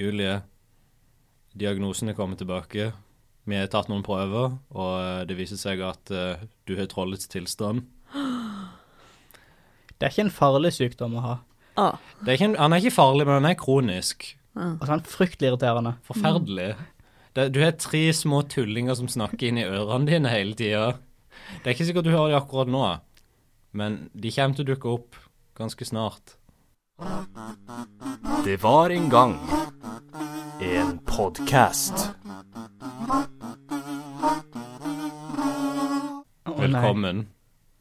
Julie, diagnosen er kommet tilbake. Vi har tatt noen prøver, og eh, det viser seg at eh, du har trollets tilstand. Det er ikke en farlig sykdom å ha. Ah. Det er ikke en, han er ikke farlig, men han er kronisk. Altså, han er fryktelig irriterende. Forferdelig. Mm. Det, du har tre små tullinger som snakker inn i ørene dine hele tida. Det er ikke sikkert du hører dem akkurat nå, men de kommer til å dukke opp ganske snart. Det var en gang en podkast. Å, nei. Velkommen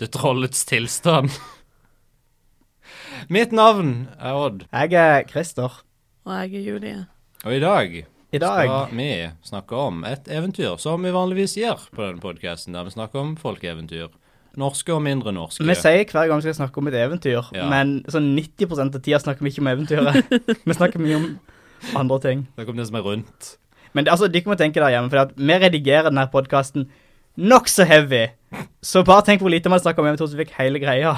til trollets tilstand. Mitt navn er Odd, Jeg er Christer. Og jeg er Julie. og i dag I dag skal vi snakke om et eventyr, som vi vanligvis gjør på denne podkasten, der vi snakker om folkeeventyr. Norske og mindre norske. Vi sier hver gang vi skal snakke om et eventyr, Ja. men sånn 90 av tida snakker vi ikke om eventyret. vi snakker mye om andre ting. Snakk om det som er rundt. Men det, altså, de kan jo tenke der hjemme, for at vi redigerer denne podkasten nokså heavy. Så bare tenk hvor lite man snakker om eventyr, så fikk hele greia.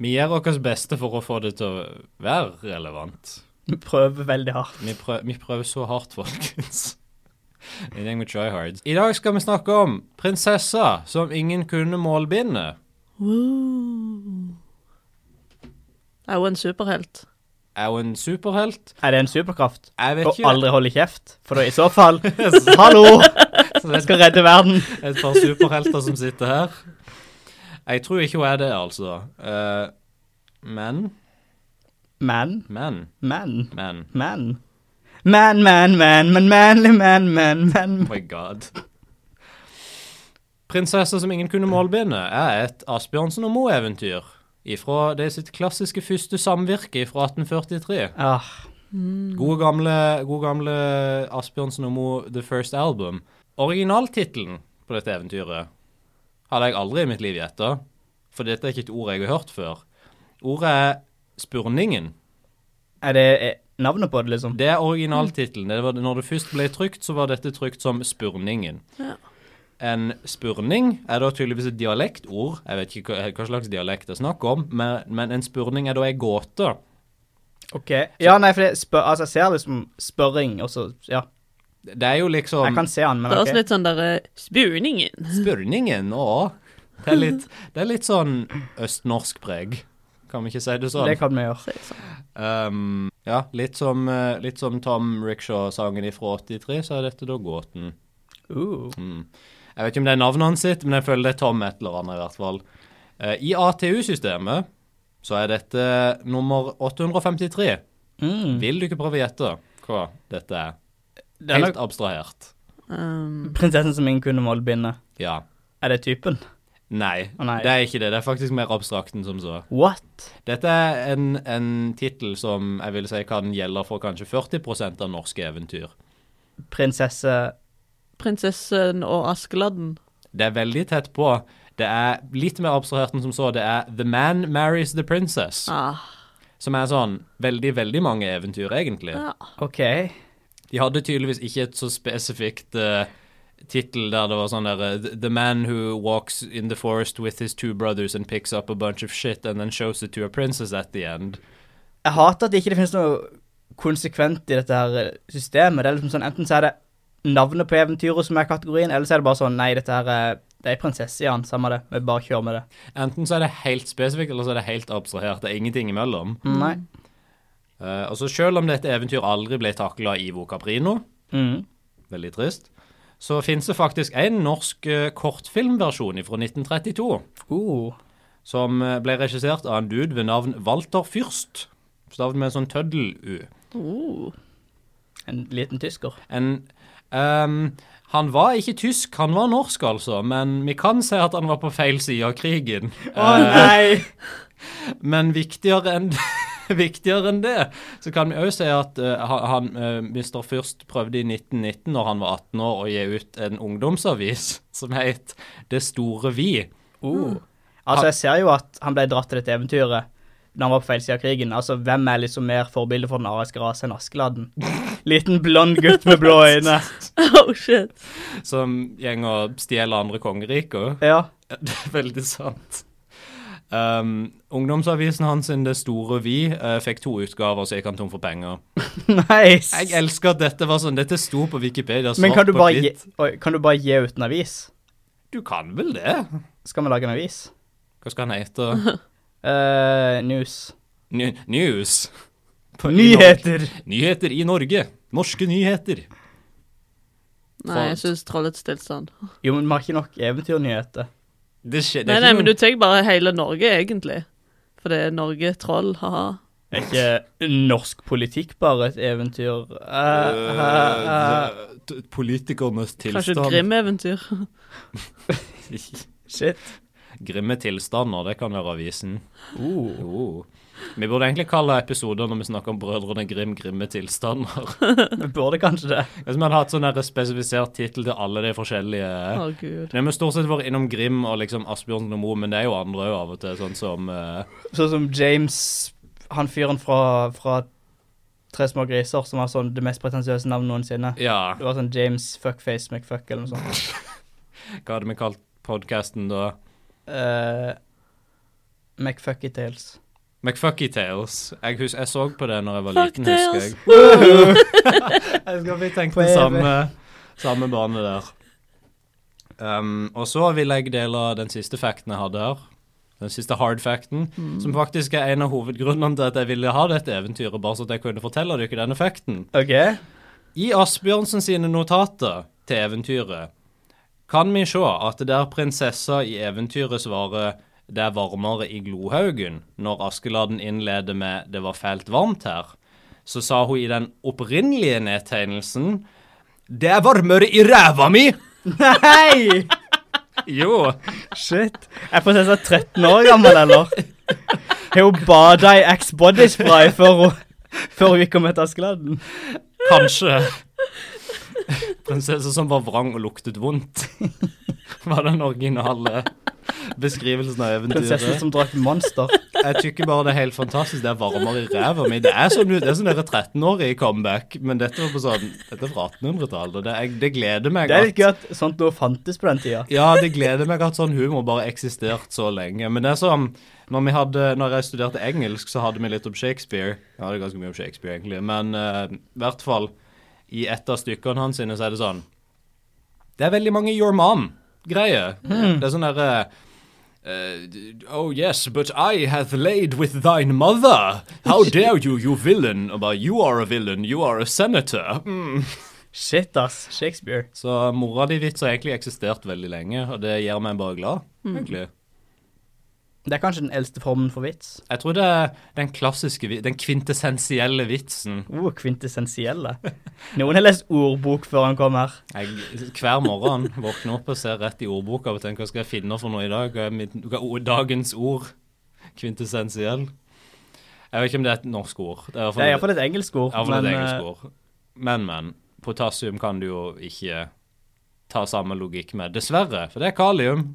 Vi gjør vårt beste for å få det til å være relevant. Vi prøver veldig hardt. Vi prøver, vi prøver så hardt, folkens. En gjeng med tryhards. I dag skal vi snakke om prinsesser som ingen kunne målbinde. Woo. Er hun en superhelt? Er hun en superhelt? Er det en superkraft? Jeg vet Og ikke. aldri holde kjeft? For da i så fall Hallo! Jeg skal redde verden. Et par superhelter som sitter her. Jeg tror ikke hun er det, altså. Eh, men, Men, men, men, men. men. Men, men, men, men, manly men, men, men. Oh my god. Prinsesser som ingen kunne målbinde er et Asbjørnsen og Moe-eventyr ifra det sitt klassiske første samvirke fra 1843. Ah, Gode gamle, gode gamle Asbjørnsen og Mo The First Album. Originaltittelen på dette eventyret hadde jeg aldri i mitt liv gjetta, for dette er ikke et ord jeg har hørt før. Ordet er Spurningen. er det er navnet på det, liksom? Det er originaltittelen. Det var- Når det først ble trykt, så var dette trykt som Spurningen. Ja. En spurning er da tydeligvis et dialektord. Jeg vet ikke hva, hva slags dialekt det er snakk om, men, men en spurning er da ei gåte. Ok. Ja, nei, for det spør, altså, jeg ser liksom spørring, og så Ja. Det er jo liksom Jeg kan se han, men Det er også OK. litt sånn derre Spurningen. Spurningen òg. Det, er litt- det er litt sånn østnorsk preg. Kan vi ikke si det Det sånn? kan vi gjøre. sier jeg sånn. Um, ja, litt som, eh, litt som Tom Rickshaw-sangen fra 83, så er dette da gåten. Uh. Mm. Jeg vet ikke om det er navnet hans sitt, men jeg føler det er Tom et eller annet i hvert fall. Eh, I ATU-systemet så er dette nummer 853. Mm. Vil du ikke prøve å gjette hva dette er? Det er Helt nok abstrahert. Um, prinsessen som ingen kunne målbinde. Ja. Er det typen? Nei, Å, nei. det er ikke det. Det er faktisk mer abstrakt enn som så. What? Dette er en, en tittel som jeg vil si kan gjelde for kanskje 40 av norske eventyr. Prinsesse prinsessen og Askeladden. Det er veldig tett på. Det er litt mer abstrahert enn som så. Det er The Man Marries The Princess, Ah, som er sånn veldig, veldig mange eventyr, egentlig. ja. OK. De hadde tydeligvis ikke et så spesifikt uh, tittel der det var sånn der eh, The man who walks in the forest with his two brothers and picks up a bunch of shit and then shows it to a princess at the end. Jeg hater at det ikke det finnes noe konsekvent i dette her eh, systemet. Det er liksom sånn, Enten så er det navnet på eventyret som er kategorien, eller så er det bare sånn Nei, dette her er- det er ei prinsesse i han, samme det. Vi bare kjører med det. Enten så er det helt spesifikt, eller så er det helt abstrahert. Det er ingenting imellom. Nei. Eh, altså Selv om dette eventyret aldri ble takla av Ivo Caprino, Mm. veldig trist, så fins det faktisk en norsk eh, kortfilmversjon fra 1932 Uh. som eh, ble regissert av en dude ved navn Walter Fürst. Stavt med en sånn tøddel-u. Oh. En liten tysker. En ehm, Han var ikke tysk, han var norsk, altså, men vi kan si at han var på feil side av krigen. Å nei! Men viktigere enn Viktigere enn det, så kan vi òg si at eh, han- han, eh, Mr. Fürst prøvde i 1919, når han var 18 år, å gi ut en ungdomsavis som het Det store vi. Uh. Altså, jeg ser jo at han ble dratt til dette eventyret da han var på feil side av krigen. Altså, hvem er liksom mer forbilde for den ariske rase enn Askeladden? Liten blond gutt med blå øyne. oh, shit. Som gjeng og stjeler andre kongeriker. Ja. Det er veldig sant. Um, ungdomsavisen hans sin Det Store Vi eh, fikk to utgaver, så jeg kan tom for penger. Nice! Jeg elsker at dette var sånn. Dette sto på Wikipedia svart Men kan du, på bare gi, hvitt. oi, kan du bare gi ut en avis? Du kan vel det? Skal vi lage en avis? Hva skal han hete? Eh, news. Ny news. På- i Norge. Nyheter! Nyheter i Norge. Norske nyheter. Nei, jeg syns trollets tilstand. Jo, men vi har ikke nok eventyrnyheter. Det skje, det Nei, er nei, ikke men noe- du tar bare hele Norge, egentlig. For det er Norge, troll, ha-ha. Er ikke norsk politikk bare et eventyr? Eh, eh, eh, Eh, t- Politikernes Kanskje tilstand. et Grim-eventyr. shit. Grimme tilstander, det kan være avisen. Uh. Jo. Vi burde egentlig kalle episoder når vi snakker om Brødrene Grim, grimme tilstander. Vi burde kanskje det. Hvis vi hadde hatt sånn her spesifisert tittel til alle de forskjellige Å, gud. Nei, Vi har stort sett vært innom Grim og liksom Asbjørnsen og Moe, men det er jo andre òg av og til, sånn som eh, Sånn som James, han fyren fra, fra Tre små griser, som har sånn det mest pretensiøse navnet noensinne. Ja, Det var sånn James Fuckface McFuck eller noe sånt. hva hadde vi kalt podkasten da? Uh, McFucky Tales. McFucky Tales. Jeg, hus jeg så på det når jeg var Fuck liten, husker Tales. jeg. jeg skal bli tenkt På den evig. samme, samme bane der. Um, og så vil jeg dele den siste facten jeg hadde her. Den siste hard facten, Mm. som faktisk er en av hovedgrunnene til at jeg ville ha dette eventyret, bare så at jeg kunne fortelle dere denne facten. OK. I Asbjørnsen sine notater til eventyret kan vi se at der prinsessa i eventyret svarer det er varmere i Glohaugen, når Askeladden innleder med det var fælt varmt her, så sa hun i den opprinnelige nedtegnelsen det er varmere i ræva mi! Nei! Jo. Shit. Er prinsessa 13 år gammel, eller? Har hun bada i Axe Body Spray før hun, før hun gikk og møtte Askeladden? Kanskje. Prinsesse som var vrang og luktet vondt, var den originale beskrivelsen av eventyret. Prinsessen som drakk monster. Jeg tykker bare det er helt fantastisk. Det er varmere i ræva mi. Det er som det er sånn dere 13-årige comeback, men dette var på sånn Dette er fra 1800-tallet, og det, er- det gleder meg Det er litt at gøy at sånt noe fantes på den tida. ja, det gleder meg at sånn humor bare har eksistert så lenge. Men det er som når, vi hadde, når jeg studerte engelsk, så hadde vi litt om Shakespeare. Jeg hadde ganske mye om Shakespeare, egentlig. Men eh, i hvert fall i et av stykkene hans sine, så er det sånn Det er veldig mange Your Mom-greier. Det er sånn derre oh yes, but I have laid with thine mother. How dare you, you villain? Og bare, you are a villain, you are a senator. Mm. Shit, ass. Shakespeare. Så mora di vits har egentlig eksistert veldig lenge, og det gjør meg bare glad, egentlig. Det er kanskje den eldste formen for vits. Jeg tror det er den klassiske, vi- den kvintessensielle vitsen. Oh, kvintessensielle. Noen har lest ordbok før han kom her. Jeg, hver morgen våkner opp og ser rett i ordboka og tenker hva skal jeg finne for noe i dag? Hva er, mitt, hva er o- dagens ord? Kvintessensiell. Jeg vet ikke om det er et norsk ord. Det er i hvert Det er fall- iallfall et engelsk ord. Ja, for det er men, eh, et engelsk ord. Men, men. Potassium kan du jo ikke ta samme logikk med. Dessverre, for det er kalium.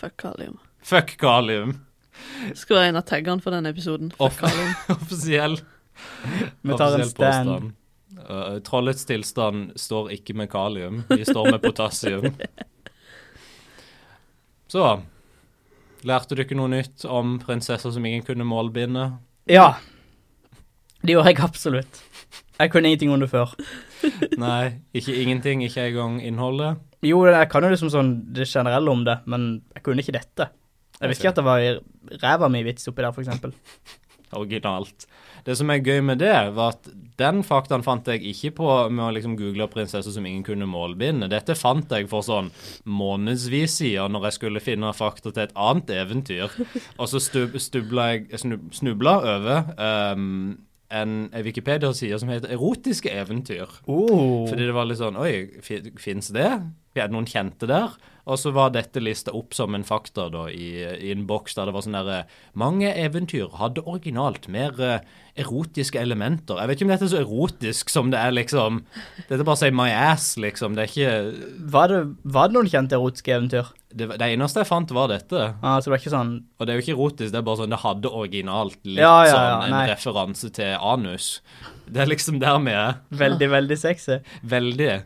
Fuck kalium. Fuck kalium. Det Skal være en av taggene for denne episoden. Fuck Off- kalium. Offisiell, eh, Vi tar en offisiell stand. påstand. Uh, trollets tilstand står ikke med kalium, de står med potassium. Så Lærte du ikke noe nytt om prinsesser som ingen kunne målbinde? Ja. Det gjorde jeg absolutt. Jeg kunne ingenting om det før. Nei, ikke ingenting, ikke engang innholdet. Jo, jeg kan jo liksom sånn det generelle om det, men jeg kunne ikke dette. Jeg visste ikke at det var i ræva mi vits oppi der, for eksempel. originalt. Det som er gøy med det, var at den faktaen fant jeg ikke på med å liksom google prinsesser som ingen kunne målbinde. Dette fant jeg for sånn månedsvis siden når jeg skulle finne fakta til et annet eventyr. Og så stub, stubla jeg snu- snubla over ehm, en en Wikipedia-side som heter 'Erotiske eventyr'. Oh. Fordi det var litt sånn Oi, fi- fins det? Vi hadde noen kjente der. Og så var dette lista opp som en fakta da, i, i en boks der det var sånn derre Mange eventyr hadde originalt mer eh, erotiske elementer. Jeg vet ikke om dette er så erotisk som det er, liksom Dette er bare å si my ass, liksom. Det er ikke Var det, var det noen kjente erotiske eventyr? det, var- det eneste jeg fant, var dette. Ah, så det var ikke sånn Og det er jo ikke erotisk, det er bare sånn det hadde originalt litt Ja, ja, ja, sånn en nei. referanse til anus. Det er liksom der vi er. veldig, veldig sexy? Veldig.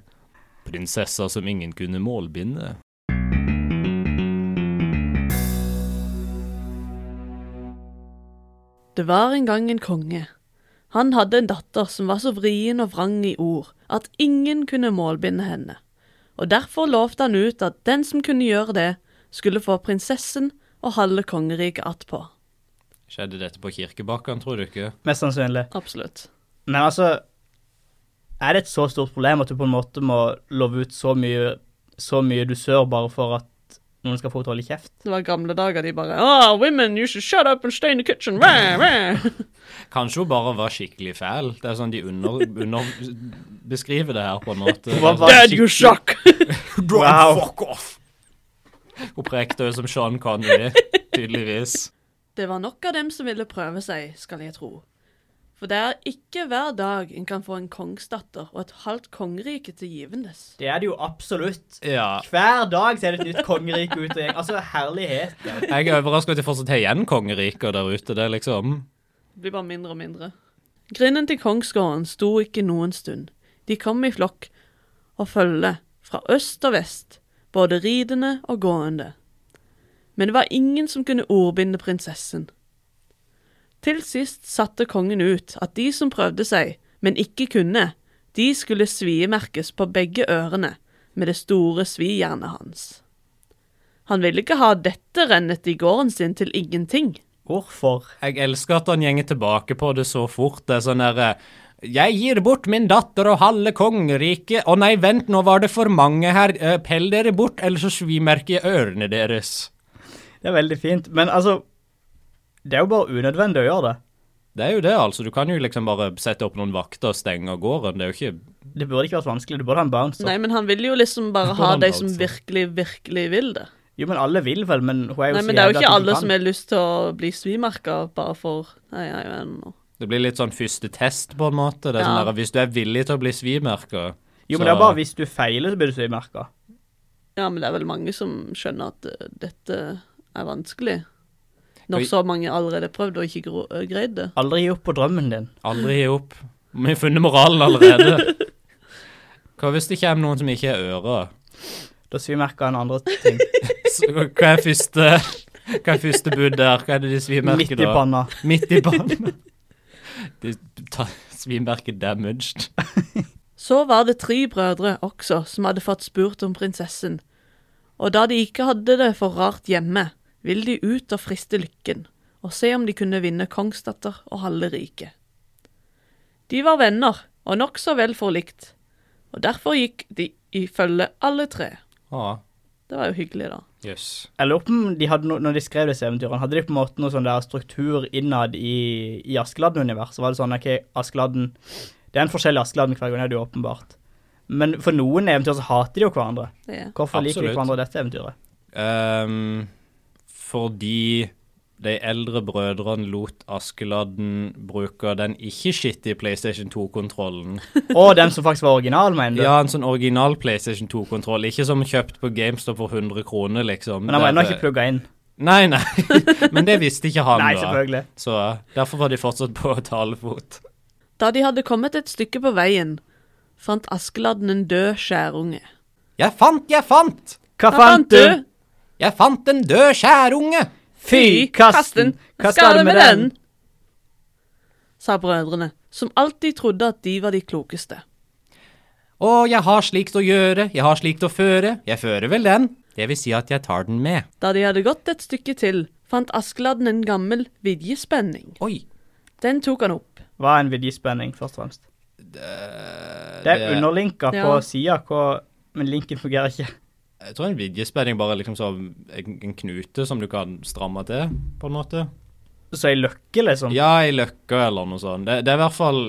Prinsesser som ingen kunne målbinde. Det var en gang en konge. Han hadde en datter som var så vrien og vrang i ord at ingen kunne målbinde henne, og derfor lovte han ut at den som kunne gjøre det, skulle få prinsessen og halve kongeriket attpå. Skjedde dette på Kirkebakken, tror du ikke? Mest sannsynlig. Absolutt. Men altså Er det et så stort problem at du på en måte må love ut så mye, så mye du sør bare for at noen skal få henne til å holde kjeft? Det var gamle dager de bare Ah, women, you should shut up and stay in the kitchen. Wah, wah. Kanskje hun bare var skikkelig fæl? Det er sånn de under, under beskriver det her, på en måte. Hva var- Dad, you suck! Wow. Fuck off! Hun prekte jo som Sean Connery, tydeligvis. Det var nok av dem som ville prøve seg, skal jeg tro. For det er ikke hver dag en kan få en kongsdatter og et halvt kongerike til givendes. Det er det jo absolutt. Ja. Hver dag ser det et nytt kongerike ut og gjeng. Altså, herlighet. Jeg er overraska over at de fortsatt har igjen kongeriker der ute, det, liksom. Det blir bare mindre og mindre. Grinden til kongsgården sto ikke noen stund. De kom i flokk og følge fra øst og vest, både ridende og gående. Men det var ingen som kunne ordbinde prinsessen. Til sist satte kongen ut at de som prøvde seg, men ikke kunne, de skulle sviemerkes på begge ørene med det store svijernet hans. Han ville ikke ha dette rennet i gården sin til ingenting. Hvorfor? Jeg elsker at han gjenger tilbake på det så fort. Det er sånn derre Jeg gir bort min datter og halve kongeriket. Å nei, vent, nå var det for mange her. Eh, Pell dere bort, ellers så svimerker jeg ørene deres. Det er veldig fint. Men altså Det er jo bare unødvendig å gjøre det. Det er jo det, altså. Du kan jo liksom bare sette opp noen vakter og stenge gården. Det er jo ikke Det burde ikke vært vanskelig. Du burde ha en bouncer. Nei, men han vil jo liksom bare Hvordan ha da, de som altså? virkelig, virkelig vil det. Jo, men alle vil vel, men hun er jo Nei, så men det er jo jævlig ikke at hun alle kan. som har lyst til å bli svimerka bare for Nei, jeg vet ikke. Det blir litt sånn første test, på en måte. Det er Ja. sånn der, Hvis du er villig til å bli svimerka Jo, men det er bare hvis du feiler, så blir du svimerka. Ja, men det er vel mange som skjønner at eh, dette er vanskelig. Oi. Når så mange allerede har prøvd og ikke gro- øh, greid det. Aldri gi opp på drømmen din. Aldri gi opp. Vi har funnet moralen allerede. Hva hvis det kommer noen som ikke har ører? Da svimerker han andre ting. Så Hva er første Hva er første bud der? Hva er det de Midt svimerker i da? panna. Midt i panna. De tar svimerker damaged. Så var det tre brødre også som hadde fått spurt om prinsessen, og da de ikke hadde det for rart hjemme, ville de ut og friste lykken, og se om de kunne vinne kongsdatter og halve riket. De var venner, og nokså vel forlikt, og derfor gikk de i følge alle tre. Å, Det var jo hyggelig, da. jøss. Jeg lurer på om de hadde no når de skrev disse eventyrene, hadde de på en måte noe sånn der struktur innad i, i Askeladden-universet? Var det sånn OK, Askeladden Det er en forskjellig Askeladden hver gang, det er det jo åpenbart. Men for noen eventyr så hater de jo hverandre. Det er. Hvorfor liker de Absolutt. hverandre i dette eventyret? Ehm, fordi de eldre brødrene lot Askeladden bruke den ikke skittige PlayStation 2-kontrollen. Å, den som faktisk var original, mener du? Ja, en sånn original PlayStation 2-kontroll. Ikke som kjøpt på GameStop for 100 kroner, liksom. Men han var ennå Der- ikke plugga inn. Nei, nei. Men det visste ikke han, Nei, da. selvfølgelig. Så derfor var de fortsatt på talefot. Da de hadde kommet et stykke på veien, fant Askeladden en død skjærunge. Jeg fant, jeg fant! Hva fant du? Jeg fant en død skjærunge! Fy, kast den! Hva skal du med den? Sa brødrene, som alltid trodde at de var de klokeste. Å, jeg har slikt å gjøre, jeg har slikt å føre. Jeg fører vel den. Det vil si at jeg tar den med. Da de hadde gått et stykke til, fant Askeladden en gammel vidjespenning. Oi. Den tok han opp. Hva er en VD-spenning, først og fremst? Det er underlinka på Ja. sida, hvor- men linken fungerer ikke. Jeg tror en vidjespenning bare er liksom som en en knute som du kan stramme til, på en måte. Så ei løkke, liksom. Ja, i løkka eller noe sånt. Det, det er i hvert fall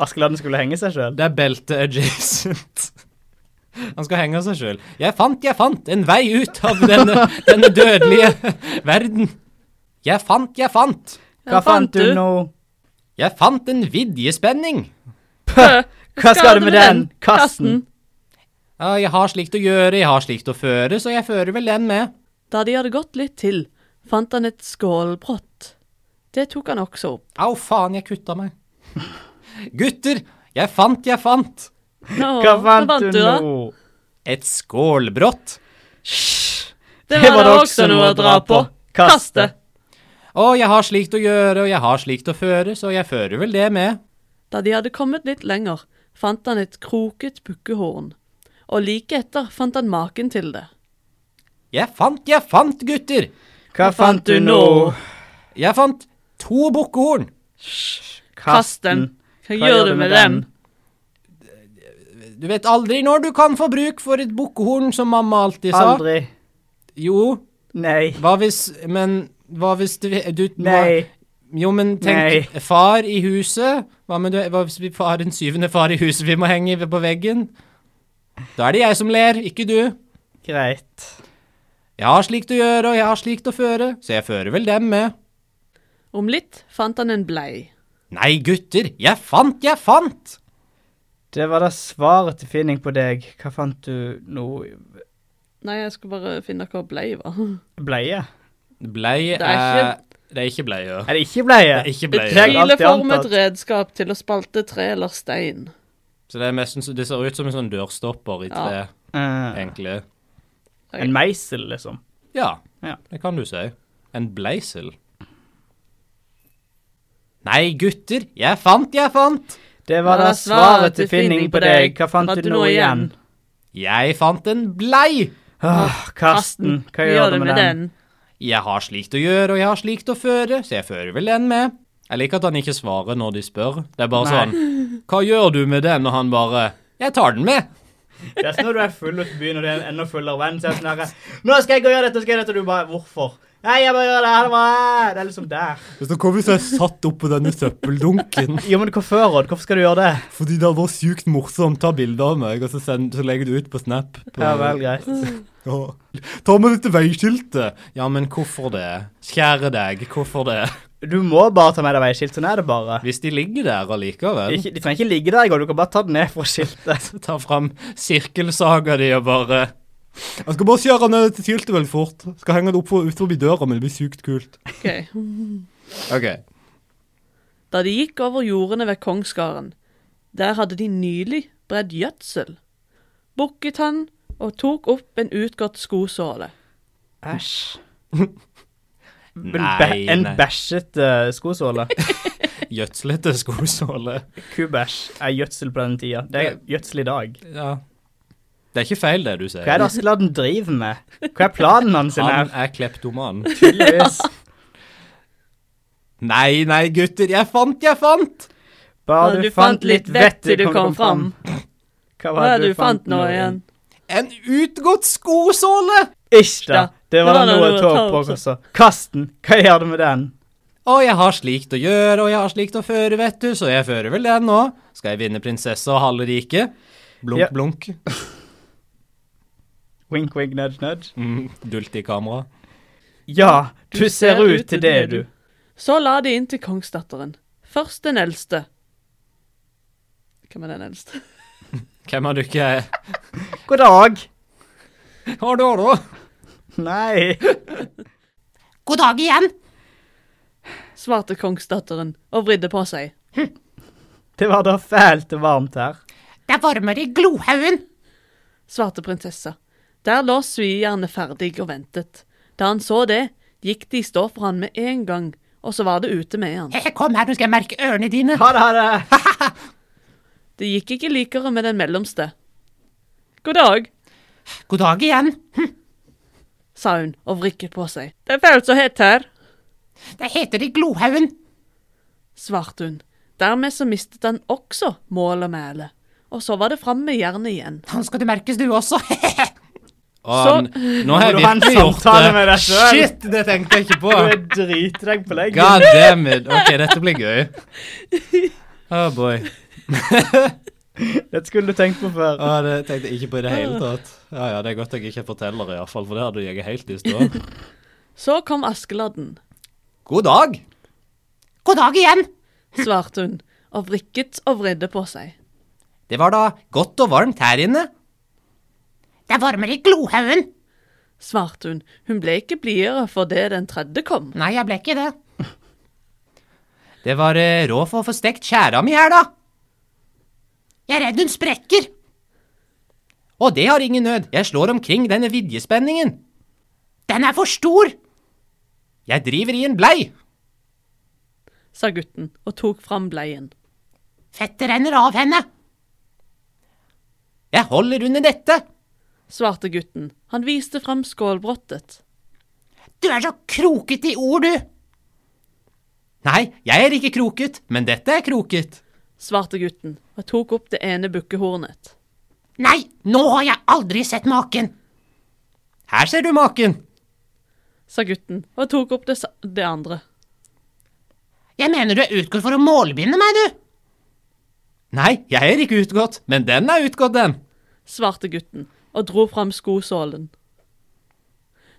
Askeladden skulle henge seg sjøl. Det er belte adjacent. Han skal henge seg sjøl. Jeg fant, jeg fant en vei ut av denne, denne dødelige verden. Jeg fant, jeg fant. Hva fant du nå? Jeg fant en vidjespenning. Hva skal du med den? Kast den! Ja, jeg har slikt å gjøre, jeg har slikt å føre, så jeg fører vel den med. Da de hadde gått litt til, fant han et skålbrott. Det tok han også opp. Au, faen, jeg kutta meg. Gutter, jeg fant, jeg fant. Nå, Hva fant du nå? Et skålbrott. Det var da også noe å dra på. Kast det! 'Å, jeg har slikt å gjøre, og jeg har slikt å føre, så jeg fører vel det med'. Da de hadde kommet litt lenger, fant han et kroket bukkehorn, og like etter fant han maken til det. Jeg fant, jeg fant, gutter! Hva fant du nå? Jeg fant to bukkehorn. Kast den. Hva gjør du med den? Du vet aldri når du kan få bruk for et bukkehorn, som mamma alltid sa. Aldri. Jo, Nei. hva hvis Men hva hvis du, du må- Nei. Jo, men tenk Far i huset. Hva, med du, hva hvis vi har en syvende far i huset vi må henge på veggen? Da er det jeg som ler, ikke du. Greit. Jeg har slikt å gjøre, og jeg har slikt å føre, så jeg fører vel dem med. Om litt fant han en blei. Nei, gutter, jeg fant, jeg fant! Det var da svaret til Finning på deg. Hva fant du nå? Nei, jeg skal bare finne hva blei var. Bleie? Blei eh, Det er ikke- Det er ikke bleie. Er det ikke bleie? Det er ikke Et bleie. tre- alltid kileformet antatt. redskap til å spalte tre eller stein. Så det, er mest, det ser ut som en sånn dørstopper i Ja. tre, Eh, egentlig. en meisel, liksom. Ja, Ja. det kan du si. En bleisel. Nei, gutter, jeg fant, jeg fant! Det var da svaret til Finning på deg. Hva fant du nå igjen? Jeg fant en blei! Åh, Karsten, hva gjør du med den? Jeg har slikt å gjøre, og jeg har slikt å føre, så jeg fører vel den med. Jeg liker at han ikke svarer når de spør. Det er bare Nei. sånn Hva gjør du med den? Og han bare Jeg tar den med. Det er sånn når du er full ute i byen, og det er en enda fullere venn. Så er det sånn herre Nå skal jeg gå og gjøre dette, nå skal jeg gjøre dette, og du bare Hvorfor? Nei, jeg bare gjør det. Ha det bra. Det er liksom der. Så kom vi så satt oppå denne søppeldunken Jo, men hvorfor, Odd? Hvorfor skal du gjøre det? fordi det var sykt morsomt. Ta bilde av meg, og så, legger du ut på Snap. Ja vel, greit. Ta med dette veiskiltet. Ja, men hvorfor det? Kjære deg, hvorfor det? Du må bare ta med deg veiskilt. Sånn er det bare. Hvis de ligger der allikevel, Ikke, de trenger ikke ligge der i går, du kan bare ta den ned fra skiltet. ta fram sirkelsaga di og bare Jeg skal bare skjære ned dette skiltet veldig fort. Skal henge det opp for, ut forbi døra, men det blir sykt kult. Ok. Ok. Da de gikk over jordene ved Kongsgarden, der hadde de nylig bredd gjødsel, bukket han og tok opp en utgått skosåle. Æsj. Nei, en nei. bæsjete skosåle. Gjødslete skosåle. Kubæsj er gjødsel på den tida. Det er gjødsel i dag. Ja. Det er ikke feil, det du sier. Hva er det Askeladden driver med? Hva er planen hans sin Han her? er kleptoman. Tydeligvis. Nei, nei, gutter. Jeg fant, jeg fant! Bare du fant litt vett til du kom fram. Hva er det du fant nå igjen? En utgått skosåle! Ish da. Det var da noe å ta opp også. også. Kast den. Hva gjør du med den? Å, jeg har slikt å gjøre, og jeg har slikt å føre, vet du, så jeg fører vel den nå. Skal jeg vinne prinsesse og halve riket? Blunk, Ja. blunk. Wink, wink, nudge, nudge. Mm, dult i kamera. Ja, du ser ut til det, du. Så la de inn til kongsdatteren. Først den eldste. Hvem er den eldste? Hvem er du ikke er? God dag. Hva da, da? Nei. God dag igjen. Svarte kongsdatteren og vridde på seg. Det var da fælt og varmt her. Det er varmere i glohaugen. Svarte prinsessa. Der lå svijernet ferdig og ventet. Da han så det, gikk de i stå for han med en gang, og så var det ute med han. He, kom her, nå skal jeg merke ørene dine. Ha det, ha det. Det gikk ikke likere med den mellomste. God dag, God dag igjen. sa hun og vrikket på seg. Det er fælt så hett her, Det heter i glohaugen. svarte hun. Dermed så mistet han også mål og mæle. Og så var det fram med jernet igjen. Sånn skal du merkes, du også. Å, nå har jeg Må du ha en virkelig gjort samtale med det. deg selv? Shit, det tenkte jeg ikke Du på. er dritdreng på leggen. God damn it. Ok, dette blir gøy. Oh boy. Dette skulle du tenkt på før. Å, det tenkte jeg ikke på i det hele tatt. Ja, ja, det er godt jeg ikke er forteller i hvert fall, for det hadde jeg helt i stå. Så kom Askeladden, God dag. God dag igjen. svarte hun, og vrikket og vridde på seg. Det var da godt og varmt her inne. Det er varmere i glohaugen. Svarte hun, hun ble ikke blidere for det den tredje kom. Nei, jeg ble ikke det. Det var eh, rå for å få stekt skjæra mi her, da. Jeg er redd hun sprekker. Og det har ingen nød, jeg slår omkring denne vidjespenningen. Den er for stor. Jeg driver i en blei. sa gutten og tok fram bleien. Fettet renner av henne. Jeg holder under dette. Svarte gutten. Han viste fram skålbrottet. Du er så krokete i ord, du. Nei, jeg er ikke kroket, men dette er kroket. Svarte gutten og tok opp det ene bukkehornet. Nei, nå har jeg aldri sett maken. Her ser du maken. Sa gutten og tok opp det, sa- det andre. Jeg mener du er utgått for å målbinde meg, du. Nei, jeg er ikke utgått, men den er utgått, den. Svarte gutten og dro fram skosålen.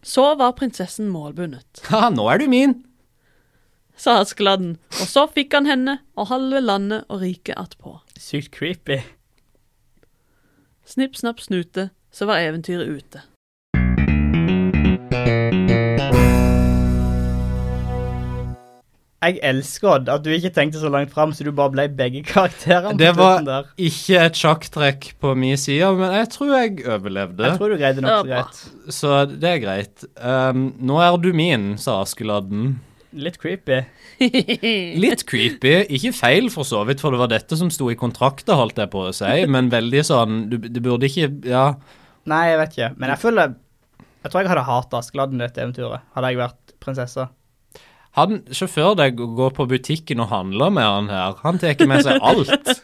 Så var prinsessen målbundet, Ha, nå er du min. sa Askeladden, og så fikk han henne og halve landet og riket attpå. Sykt creepy. Snipp, snapp, snute, så var eventyret ute. Jeg elsker Odd, at du ikke tenkte så langt fram, så du bare ble begge karakterene. på Det var slutten der. ikke et sjakktrekk på min side, men jeg tror jeg Jeg overlevde, tror du greide det nokså Ja, bra. greit. så det er greit. Um, nå er du min, sa Askeladden. Litt creepy. Litt creepy. Ikke feil, for så vidt, for det var dette som sto i kontrakta, holdt jeg på å si, men veldig sånn du, Det burde ikke Ja. Nei, jeg vet ikke. Men jeg føler Jeg tror jeg hadde hatet Askeladden i dette eventyret, hadde jeg vært prinsesse. Han, Sjåfør deg går på butikken og handler med han her. Han tar med seg alt.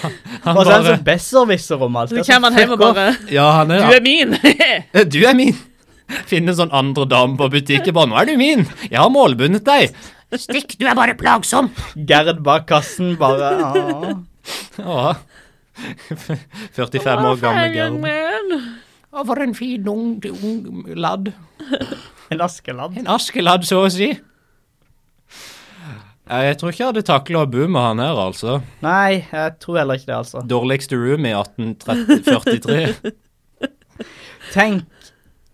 Han, han Og så er det bare så besserwisser om alt. Så Det er kommer han hjem og fuck off. bare Ja, han Du er er min! Eh, Du er min! Finne sånn andre dame på butikken bare 'Nå er du min! Jeg har målbundet deg!' Stikk, du er bare plagsom. Gerd bak kassen bare «Åh». Åh. 45 år gamle Gerd. Å, for en fin ung, ung Ladd. En Askeladd. En askeladd, så å si. Eh, Jeg tror ikke jeg hadde takla å bo med han her, altså. Nei, jeg tror heller ikke det, altså. Dårligste room i 1843. Tenk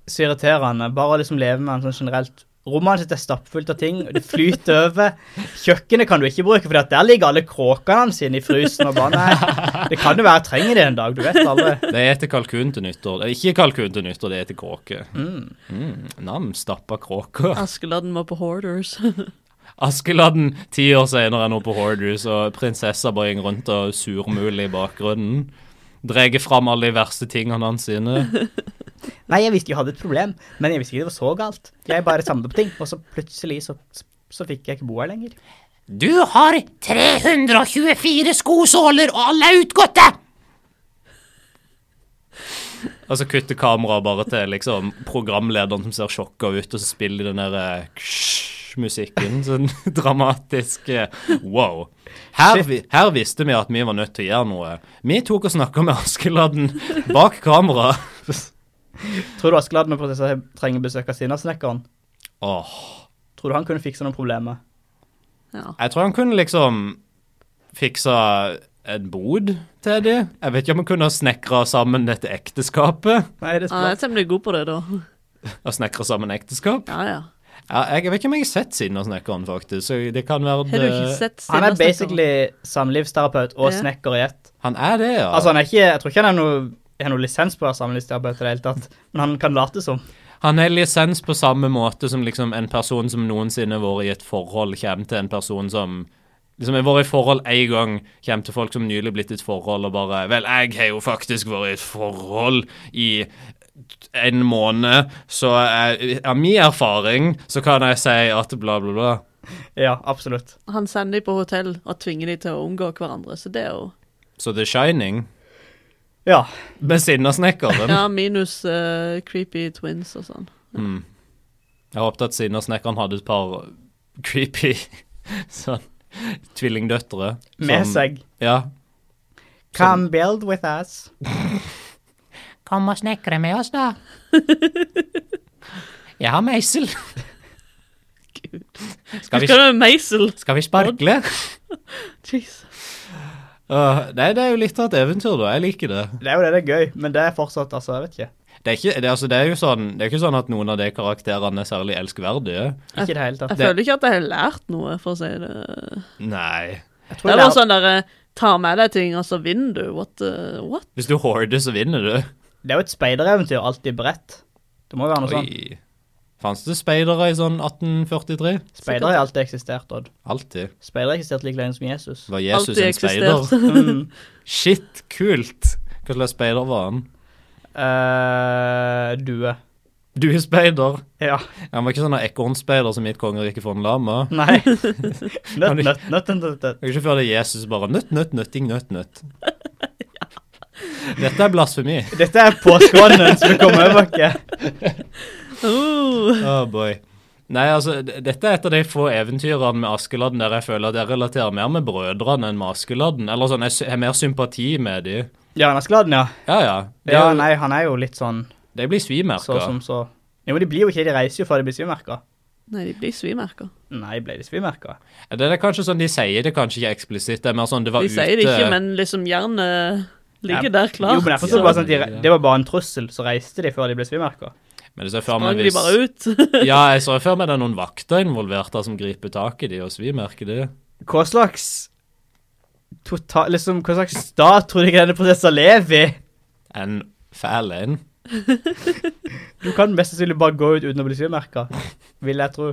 så irriterende. Bare å liksom leve med den sånn generelt. Rommene sitt er stappfullt av ting, og det flyter over. Kjøkkenet kan du ikke bruke, for der ligger alle kråkene hans inne i frysen. og bare, nei, Det kan jo være jeg trenger det en dag, du vet alle. De eter kalkun til nyttår. Eh, Ikke kalkun til nyttår, de eter kråke. Mm, nam, stappa kråker. Askeladden var på Hoarders. Askeladden ti år senere er nå på Hoarders, og prinsessa bare går rundt og surmuler i bakgrunnen. Dreger fram alle de verste tingene hans sine. Nei, jeg visste jeg hadde et problem, men jeg visste ikke det var så galt. Jeg bare samlet opp ting, og så plutselig så, så fikk jeg ikke bo her lenger. Du har 324 skosåler, og alle er utgåtte. Og så kutter kameraet bare til liksom, programlederen som ser sjokka ut, og så spiller de den der eh, ksh-musikken. Sånn dramatisk eh, wow. Her, vi- her visste vi at vi var nødt til å gjøre noe. Vi tok og snakka med Askeladden bak kamera. Tror du Askeladden og prinsessa trenger besøk av Sinnasnekkeren? Åh. Tror du han kunne fikse noen problemer? Ja. Jeg tror han kunne liksom fiksa en bod til de. Jeg vet ikke om han kunne snekra sammen dette ekteskapet. Nei, det er Han er smart. temmelig god på det, da. Og snekra sammen ekteskap. Ja, ja. Ja, jeg, jeg vet ikke om jeg har sett Sinnasnekkeren, faktisk. Så det kan være Har du ikke det. sett Han er Steinar snakke om det? basically samlivsterapeut og Ja. snekker i ett. Han er det, ja. Altså, han er ikke, jeg tror ikke han er noe, har noe lisens på å være samlivsterapeut i det hele tatt, men han kan late som. Han er lisens på samme måte som liksom en person som noensinne har vært i et forhold, kommer til en person som Liksom har vært i forhold én gang, kommer til folk som nylig blitt i et forhold, og bare Vel, jeg har jo faktisk vært i et forhold i en måned, så jeg, av min erfaring så kan jeg si at bla, bla, bla. Ja, absolutt. Han sender de på hotell og tvinger de til å omgå hverandre, så det er jo Så The Shining Ja, med Sinnasnekkeren. Ja, minus eh, creepy twins og sånn. Jeg håpet at Sinnasnekkeren hadde et par creepy sånn tvillingdøtre. med som- seg. Ja, Come build with us. Kom og snekre med oss, da. Jeg har meisel. Skal vi, Husker du Meisel? skal vi sparkle? Jeez. Åh, nei, det er jo litt av et eventyr, da. Jeg liker det. Det er jo det, det er gøy, men det er fortsatt, altså, jeg vet ikke. Det er, ikke, det, er altså, det er jo sånn, det er ikke sånn at noen av de karakterene er særlig elskverdige. Ikke i det hele Jeg tatt. føler ikke at jeg har lært noe, for å si det. Nei. Jeg tror Det jeg var lærte- sånn derre Ta med deg ting, og så vinner du. What? the- what? Hvis du hoarder, så vinner du. det er jo et speidereventyr, alltid bredt. Det må jo være noe sånn. Oi. Fantes det speidere i sånn 1843? Speidere har alltid eksistert, Odd. Alltid. Speidere har eksistert like lenge som Jesus. Var Jesus Alltid en speider? eksistert. Mm. Shit, kult! Hva slags speider var han? Eh, due. Du er speider. Ja. Han var ikke sånn ekornspeider som i et kongerike for en lama. Nei. Nøtt, nøtt, nøtt, nøtt, nøtt. Det er ikke før det er Jesus bare nøtt, nøtt, nøtting, nøtt, nøtt. Dette er blasfemi. Dette er påskånden som kom over oss. Oh. Oh boy. Nei, altså, d- dette er et av de få eventyrene med Askeladden der jeg føler at jeg relaterer mer med brødrene enn med Askeladden. Eller sånn, jeg sy- har mer sympati med de. Ja, han er skladden, ja. Ja, ja. De, Ja, nei, han er jo litt sånn de blir så svimerka. sånn. som så. Jo, men de blir jo ikke det. De reiser jo før de blir svimerka. Nei, de blir svimerker. Nei, ble de svimerka? Det er kanskje sånn, de sier det kanskje ikke eksplisitt. Det er mer sånn, det var De ute. sier det ikke, men liksom hjernen ligger der klar. Jo, men jeg forstod Ja, bare sånn at de, ja. re- Det var bare en trussel, så reiste de før de ble svimerka. Men det ser før Sprang meg de hvis... bare ut. Ja, jeg så før meg det er noen vakter involvert der som griper tak i de og svimerker de. Hva slags total, liksom, Hva slags stat tror du ikke denne prinsessa lever i? En fæl en. Du kan mest sannsynlig bare gå ut uten å bli svimerka, vil jeg tro.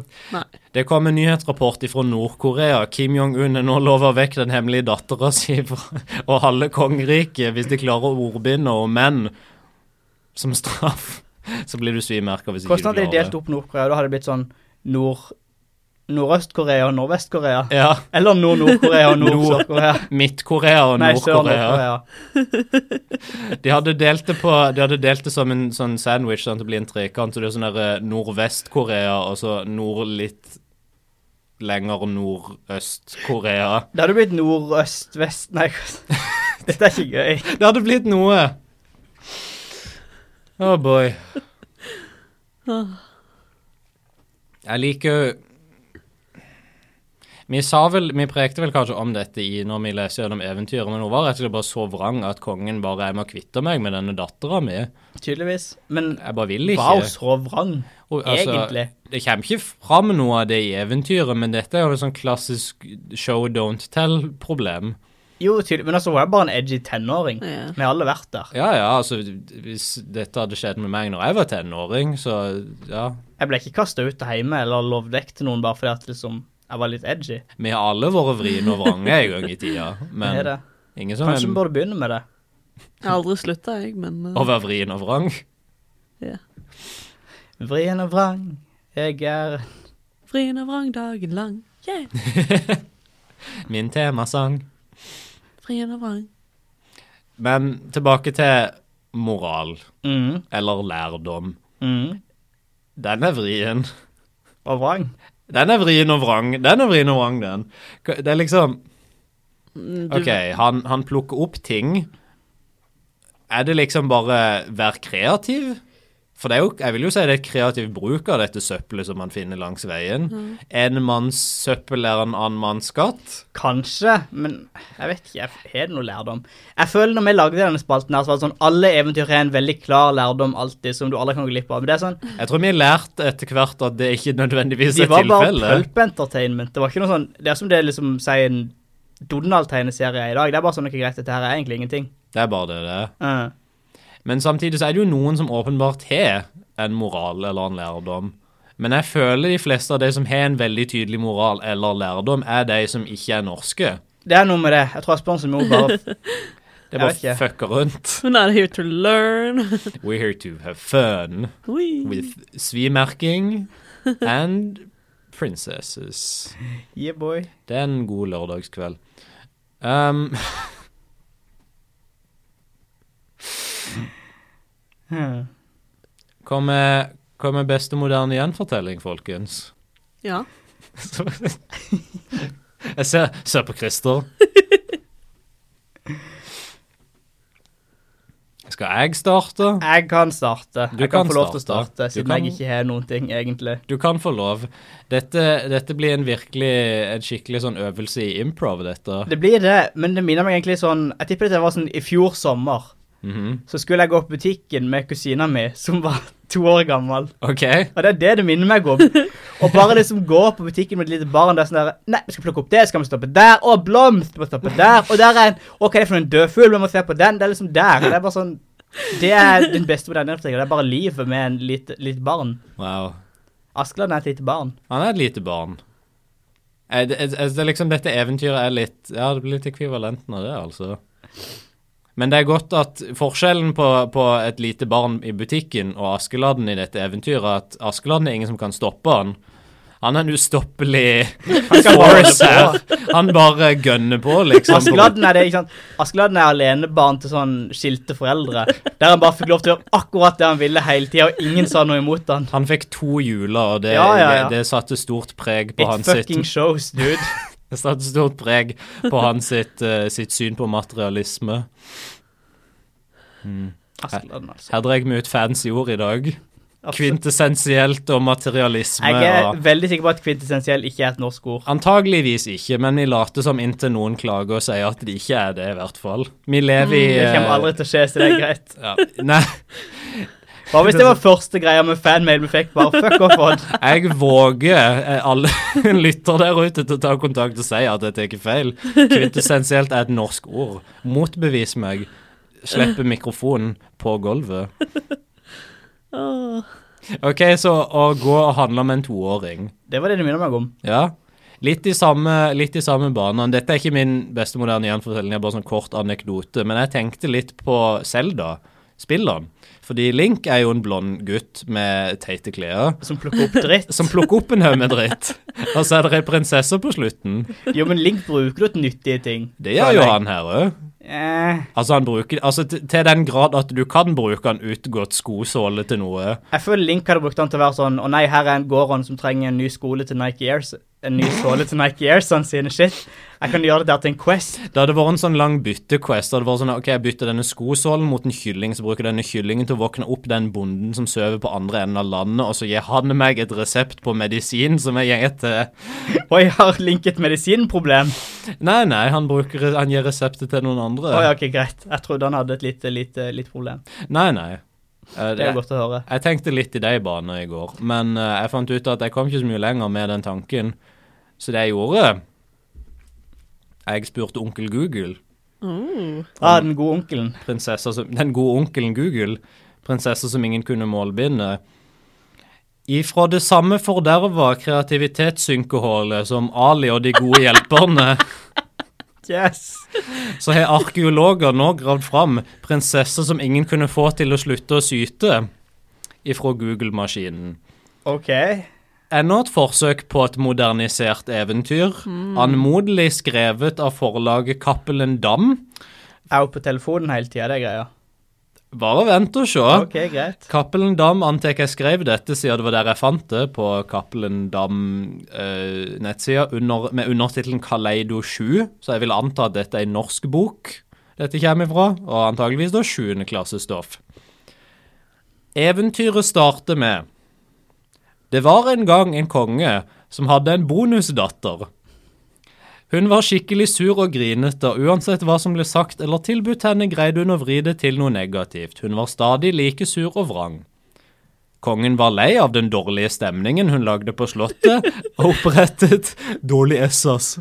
Det kom en nyhetsrapport fra Nord-Korea. Kim Jong-un er nå lover vekk den hemmelige dattera si fra- og halve kongeriket hvis de klarer å ordbinde om menn som straff. Så blir du svimerka hvis ikke Hvordan du hadde klarer de delt opp Nord-Korea? Da hadde det blitt sånn nord... Nordøst-Korea og Nordvest-Korea? Ja. Eller Nord-Nord-Korea og Nord-Sør-Korea? Midt-Korea og Nei, Nord-Korea. Sør-Nord-Korea. De hadde delt det på, de hadde delt det som en sånn sandwich, sånn at det blir en trekant. Så det er sånn der, eh, Nordvest-Korea og så nord litt lenger Nordøst-Korea. Det hadde blitt nordøst-vest Nei, hva- dette er ikke gøy. Det hadde blitt noe. Oh boy. Jeg liker jo vi, sa vel, vi prekte vel kanskje om dette i når vi leser gjennom eventyret, men hun var rett og slett bare så vrang at kongen bare jeg må kvitte meg med denne dattera mi. Tydeligvis. Men Jeg bare vil ikke. wow, så vrang, Og, altså, egentlig. Det kommer ikke fram noe av det i eventyret, men dette er jo en sånn klassisk show don't tell-problem. Jo, tydelig, men altså, hun er bare en edgy tenåring. Ja. Vi har alle vært der. Ja, ja, altså Hvis dette hadde skjedd med meg når jeg var tenåring, så ja. Jeg ble ikke kasta ut av hjemme eller lovd vekk til noen bare fordi at liksom, jeg var litt edgy. Vi har alle vært vriene og vrange en gang i tida, Det men er det. ingen som Kanskje vi er burde begynne med det. Jeg har aldri slutta, jeg, men eh, å være vrien og vrang. Vrien og vrang, jeg er Vrien og vrang dagen lang. Yeah. Min temasang. Vrien og vrang. Men tilbake til moral, mm, eller lærdom. mm, Den er vrien. Og vrang. Den er vrien og vrang. Den er vrien og vrang, den. Hva- Det er liksom Mm, Du, OK, han, han plukker opp ting. Er det liksom bare vær kreativ? For det er jo, jeg vil jo si det er et kreativ bruk av dette søppelet som man finner langs veien. En manns søppel er en annen manns skatt. Kanskje, men jeg vet ikke. jeg- Har det noe lærdom? Jeg føler når vi lagde denne spalten, her, så var det sånn alle eventyr har en veldig klar lærdom alltid, som du aldri kan gå glipp av. Men det er sånn, Jeg tror vi har lært etter hvert at det ikke nødvendigvis De er var bare tilfellet. pulp-entertainment. Det var ikke noe sånn, det er som det liksom sier en Donald-tegneserie er i dag. Det er bare sånn noe greit, dette her er egentlig ingenting. Det er bare det det er. Eh, Men samtidig så er det jo noen som åpenbart har en moral eller en lærdom. Men jeg føler de fleste av de som har en veldig tydelig moral eller lærdom, er de som ikke er norske. det er noe med det. Jeg tror Asbjørnsen må bare Det Jeg er vet ikke. bare fucker rundt. We're not here to learn. We're here to have fun Oi. with svimerking and princesses. Yeah, boy. Det er en god lørdagskveld. Um, Hmm. kom med, kom med beste moderne gjenfortelling, folkens. Ja. Jeg ser, ser på Christer. Skal jeg starte? Jeg kan starte. Du jeg kan, kan få lov til å starte. starte, Du siden kan- jeg ikke har noen ting, egentlig. Du kan få lov. Dette, dette blir en virkelig, en skikkelig sånn øvelse i improv, dette. Det blir det, men det minner meg egentlig sånn Jeg tipper dette var sånn i fjor sommer. Mhm. så skulle jeg gå på butikken med kusina mi, som var to år gammel. OK. Og det er det det minner meg om. Å bare liksom gå på butikken med et lite barn der sånn der Nei, vi skal plukke opp det, skal vi stoppe der? Å, blomst! Vi må stoppe der. Og der er en Å, hva er det for en dødfugl? Vi må se på den. Det er liksom der. Det er bare sånn Det er den beste moderne fortellingen. Det er bare livet med en lite, litt barn. Wow. Askeladden er et lite barn. Han er et lite barn. Eh, Det, eh, det er liksom, dette eventyret er litt Ja, det blir litt ekvivalenten av det, altså. Men det er godt at forskjellen på, på et lite barn i butikken og Askeladden i dette eventyret, er at Askeladden er ingen som kan stoppe han. Han er en ustoppelig force her. Han bare gønner på, liksom. Askeladden er det, ikke sant? Askeladden er alenebarn til sånn skilte foreldre. Der han bare fikk lov til å gjøre akkurat det han ville hele tida, og ingen sa noe imot han. Han fikk to juler, og det, Ja, ja, ja. det, det satte stort preg på It hans sitt fucking shows, dude. Det satte stort preg på hans sitt, eh, sitt syn på materialisme. Askeladden, altså. Her drar vi ut fancy ord i dag. Absolutt. Kvintessensielt og materialisme. Jeg er Og veldig sikker på at kvintessensiell ikke er et norsk ord. antageligvis ikke, men vi later som inntil noen klager og sier at det ikke er det, i hvert fall. Vi lever i Mm, eh, Det kommer aldri til å skje, så det er greit. ja, Nei, Bare hvis det var første greia med fanmail vi fikk, bare fuck off Odd. jeg våger eh, alle lytter der ute til å ta kontakt og si at jeg tar feil. Kvintessensielt er et norsk ord. Motbevis meg. Slippe mikrofonen på gulvet. Åh. Ok, så å gå og handle med en toåring. Det var det det minner meg om. Ja. Litt i samme, litt i samme banen. Dette er ikke min beste moderne gjenfortelling, det er bare sånn kort anekdote. Men jeg tenkte litt på Selda, spilleren. Fordi Link er jo en blond gutt med teite klær. Som plukker opp dritt. Som plukker opp en haug med dritt. Og så er det ei prinsesse på slutten. Jo, men Link bruker jo til nyttige ting. Det gjør jo han her òg. Eh, Altså, han bruker, altså til, til den grad at du kan bruke han utgått skosåle til noe. jeg føler Link hadde brukt han til å være sånn Å nei, her er en Goron som trenger en ny skole til Nike Airs. En ny skole til Nike Airs, han sine shit. Jeg kan gjøre det der til en Quest. Det hadde vært en sånn lang byttequest. Det hadde vært sånn, ok, Jeg bytter denne skosålen mot en kylling, så bruker jeg denne kyllingen til å våkne opp den bonden som sover på andre enden av landet, og så gir han meg et resept på medisin som jeg gir til Oi, har Link et medisinproblem? Nei, nei, han, bruker, han gir reseptet til noen andre. Oi, ok, greit. Jeg trodde han hadde et lite, lite, lite problem. Nei, nei. Eh, Det er godt å høre. Jeg tenkte litt i de baner i går, men eh, jeg fant ut at jeg kom ikke så mye lenger med den tanken. Så det jeg gjorde Jeg spurte onkel Google Åh. Ah, den gode onkelen. prinsesser som, den gode onkelen Google, prinsesser som ingen kunne målbinde. Ifra det samme forderva kreativitetssynkehulet som Ali og de gode hjelperne, Yes! så har arkeologer nå gravd fram prinsesser som ingen kunne få til å slutte å syte ifra Google-maskinen. Ok. Enda et forsøk på et modernisert eventyr, anmodelig skrevet av forlaget Cappelen Dam. Jeg er jo på telefonen hele tida, det er greia. Bare vent og se. Ok, greit. Cappelen Dam antar jeg jeg skrev dette siden det var der jeg fant det, på Cappelen Dam-nettsida, med undertittelen Kaleido 7, så jeg vil anta at dette er en norsk bok dette kommer ifra, og antageligvis da 7. klassestoff. Eventyret starter med Det var en gang en konge som hadde en bonusdatter. Hun var skikkelig sur og grinete, og uansett hva som ble sagt eller tilbudt henne, greide hun å vri det til noe negativt. Hun var stadig like sur og vrang. Kongen var lei av den dårlige stemningen hun lagde på slottet, og opprettet Dårlig essas.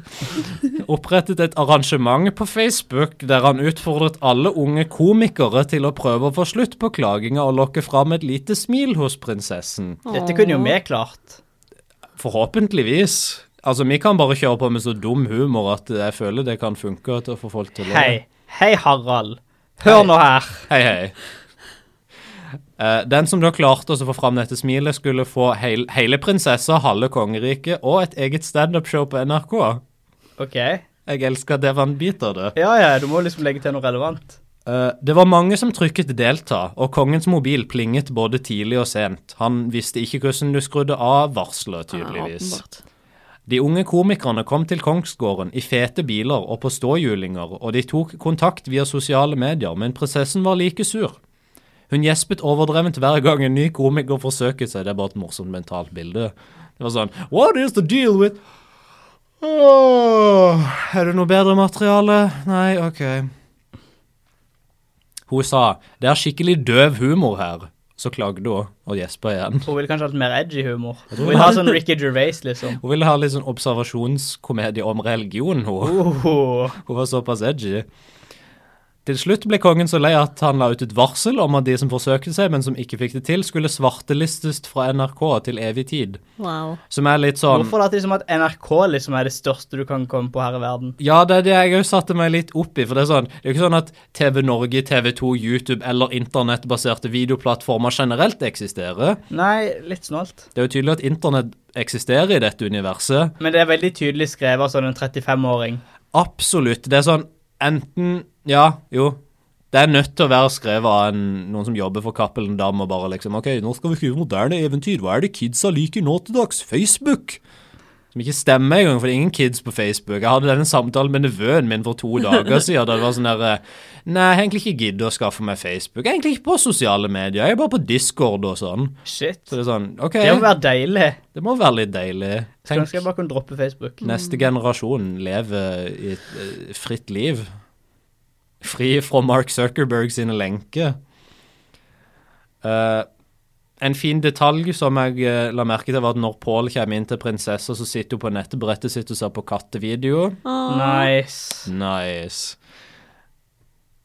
Opprettet et arrangement på Facebook der han utfordret alle unge komikere til å prøve å få slutt på klaginga og lokke fram et lite smil hos prinsessen. Dette kunne jo vi klart. Forhåpentligvis. Altså, vi kan bare kjøre på med så dum humor at jeg føler det kan funke til å få folk til å Hei. Hei, Harald. Hør nå her. Hei, hei. Eh, den som da klarte å få fram dette smilet, skulle få heil, hele prinsessa, halve kongeriket og et eget standup-show på NRK. Ok. Jeg elsker at det var en bit av det. Ja, ja, du må liksom legge til noe relevant. Eh, det var mange som trykket 'delta', og kongens mobil plinget både tidlig og sent. Han visste ikke hvordan du skrudde av varselet, tydeligvis. Ja, åpenbart. De unge komikerne kom til Kongsgården i fete biler og på ståhjulinger, og de tok kontakt via sosiale medier, men prinsessen var like sur. Hun gjespet overdrevent hver gang en ny komiker forsøket seg. Det er bare et morsomt mentalt bilde. Det var sånn What is the deal with Åh, Er det noe bedre materiale? Nei, OK. Hun sa det er skikkelig døv humor her. Så klagde hun og gjespa igjen. Hun ville kanskje hatt mer edgy humor. Hun ville ha sånn Ricky Gervais, liksom. Hun ville ha litt sånn observasjonskomedie om religion, hun. Oh. Hun var såpass edgy. Til slutt ble kongen så lei at han la ut et varsel om at de som forsøkte seg, men som ikke fikk det til, skulle svartelistes fra NRK til evig tid. Wow. Som er litt sånn Hvorfor later de som at NRK liksom er det største du kan komme på her i verden? Ja, det er det jeg òg satte meg litt opp i. For det er sånn, det er jo ikke sånn at TV Norge, TV2, YouTube eller internettbaserte videoplattformer generelt eksisterer. Nei, litt snålt. Det er jo tydelig at internett eksisterer i dette universet. Men det er veldig tydelig skrevet av sånn en 35-åring. Absolutt. Det er sånn enten Ja, jo. Det er nødt til å være skrevet av en, noen som jobber for Cappelen Dam og bare liksom OK, nå skal vi skrive moderne eventyr. Hva er det kidsa liker nå til dags? Facebook! Som ikke stemmer engang, for det er ingen kids på Facebook. Jeg hadde denne samtalen med nevøen min for to dager siden. Da det var sånn der eh, Nei, jeg har egentlig ikke gidder å skaffe meg Facebook. Jeg er egentlig ikke på sosiale medier. Jeg er bare på Discord og sånn. Shit. Så det er sånn OK, Det må være deilig. det må være litt deilig. Skulle Tenk- ønske jeg bare kunne droppe Facebook. Neste generasjon lever i et eh, fritt liv. Fri fra Mark Zuckerberg sine lenker. Eh, en fin detalj som jeg eh, la merke til, var at når Paul kommer inn til prinsessa, så sitter hun på nettbrettet sitt og ser på kattevideo. Nice. Nice.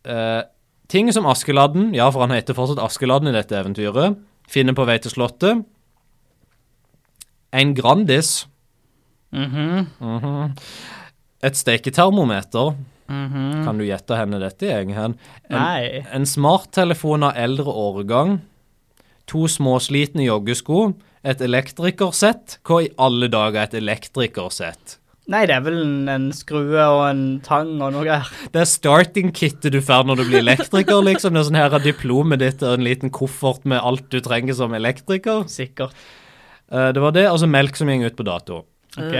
Eh, ting som Askeladden, ja, for han heter fortsatt Askeladden i dette eventyret, finner på vei til slottet. En Grandis. Mhm. Mhm. Et steketermometer. Kan du gjette henne dette, Eggen? En, Nei. en smarttelefon av eldre årgang. To småslitne joggesko. Et elektrikersett. Hva i alle dager er et elektrikersett? Nei, det er vel en, en skrue og en tang og noe greier. Det er starting-kittet du får når du blir elektriker, liksom. Det er sånn her er diplomet ditt og en liten koffert med alt du trenger som elektriker. Sikkert. Eh, Det var det, altså melk som går ut på dato. Ok.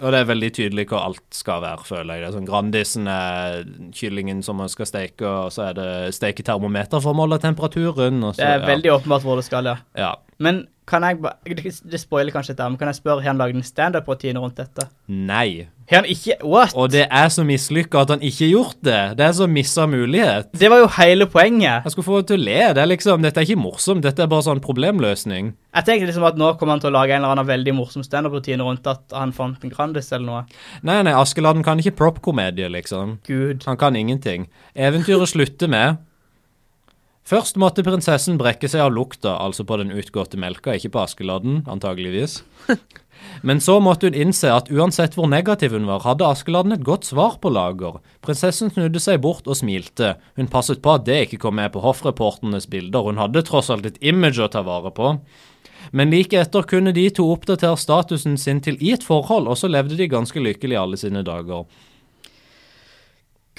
Og det er veldig tydelig hva alt skal være, føler jeg. Det er sånn Grandisen er kyllingen som man skal steke, og så er det steketermometer for å måle temperaturen. Og så, Det er ja. veldig åpenbart hvor det skal, ja. Ja. Men kan jeg bare Det det spoiler kanskje dette, men kan jeg spørre, har han lagd en standup-rutine rundt dette? Nei. Har han ikke What? Og det er så mislykka at han ikke har gjort det. Det er så missa mulighet. Det var jo hele poenget. Jeg skulle få det til å le. Det er liksom, Dette er ikke morsomt, dette er bare sånn problemløsning. Jeg tenkte liksom at nå kommer han til å lage en eller annen veldig morsom standup-rutine rundt at han fant en Grandis eller noe. Nei, nei, Askeladden kan ikke prop-komedie, liksom. Gud. Han kan ingenting. Eventyret slutter med Først måtte prinsessen brekke seg av lukta, altså på den utgåtte melka, ikke på Askeladden, antageligvis. Men så måtte hun innse at uansett hvor negativ hun var, hadde Askeladden et godt svar på lager. Prinsessen snudde seg bort og smilte. Hun passet på at det ikke kom med på hoffreporternes bilder, hun hadde tross alt et image å ta vare på. Men like etter kunne de to oppdatere statusen sin til i et forhold, og så levde de ganske lykkelig alle sine dager.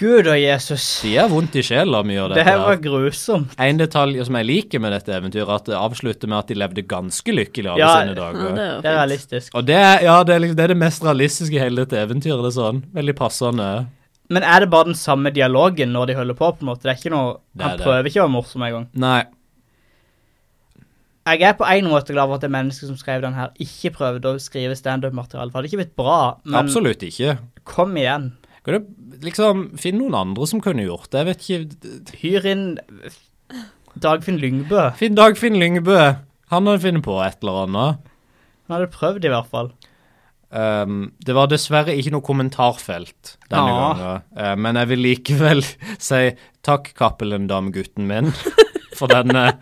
Gud og Jesus. De er vondt i sjela, mye av Det dette. her her. var grusomt. En detalj som jeg liker med dette eventyret, at det avslutter med at de levde ganske lykkelig alle Ja. sine Ja, dager. det Det er er jo fint. realistisk. Og det er, ja, det, er liksom, det er det mest realistiske i hele dette eventyret. det er sånn. Veldig passende. Men er det bare den samme dialogen når de holder på? på en måte? Det er ikke noe, Det er Han det. prøver ikke å være morsom engang. Nei. Jeg er på en måte glad for at det mennesket som skrev den her, ikke prøvde å skrive standup-materiale. For det hadde ikke blitt bra. Men Absolutt ikke. kom igjen. Kan du liksom finne noen andre som kunne gjort det? Jeg vet ikke Hyr inn Dagfinn Lyngbø. Finn Dagfinn Lyngbø. Han hadde funnet på et eller annet. Han hadde prøvd, i hvert fall. Ehm, det var dessverre ikke noe kommentarfelt denne Ja. gangen, Eh, men jeg vil likevel si takk, Cappelendam, gutten min, for denne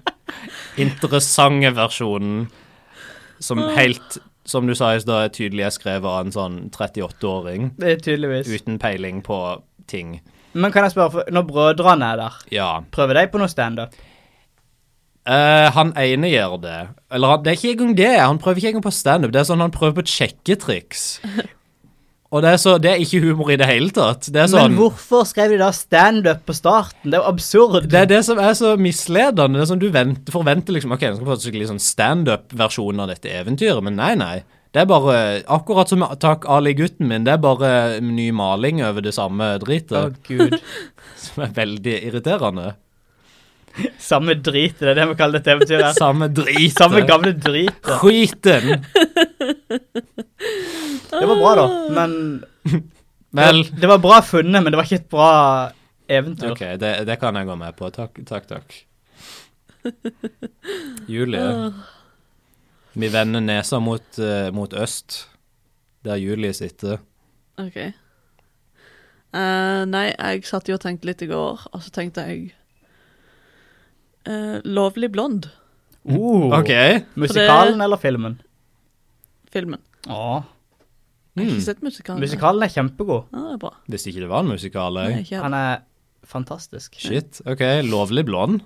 interessante versjonen som helt, som du sa i stad, er tydelig er skrevet av en sånn 38-åring Det er tydeligvis. uten peiling på ting. Men kan jeg spørre, for når brødrene er der, Ja. prøver de på noe standup? Eh, han ene gjør det. Eller han, det er ikke engang det. Han prøver ikke engang på standup. Det er sånn han prøver på et sjekketriks. Og det er, så, det er ikke humor i det hele tatt. Det er sånn Men hvorfor skrev de da standup på starten? Det er jo absurd. Det er det som er så misledende. Det er sånn Du venter, forventer liksom Ok, nå skal vi få en skikkelig sånn standup-versjon av dette eventyret, men nei, nei. Det er bare Akkurat som med Takk Ali, gutten min, det er bare ny maling over det samme dritet. Å, gud. Som er veldig irriterende. Samme drit, det er det vi kaller dette eventyret. her. Samme dritet. Samme gamle drit. Skiten! Det var bra, da. Men Vel det var bra funnet, men det var ikke et bra eventyr. OK, det, det kan jeg gå med på. Takk, takk. takk. Julie. Vi vender nesa mot, eh, mot øst, der Julie sitter. OK. Eh, nei, jeg satt jo og tenkte litt i går, og så tenkte jeg eh, Lovlig blond, Uh, OK. Musikalen eller filmen? filmen. Åh. Mm. Jeg har ikke sett musikalen. Musikalen er kjempegod. Ja, det er bra. Visste ikke det var en musikal. Nei, jeg. ikke helt. Han er fantastisk. Shit. OK. Lovlig blond.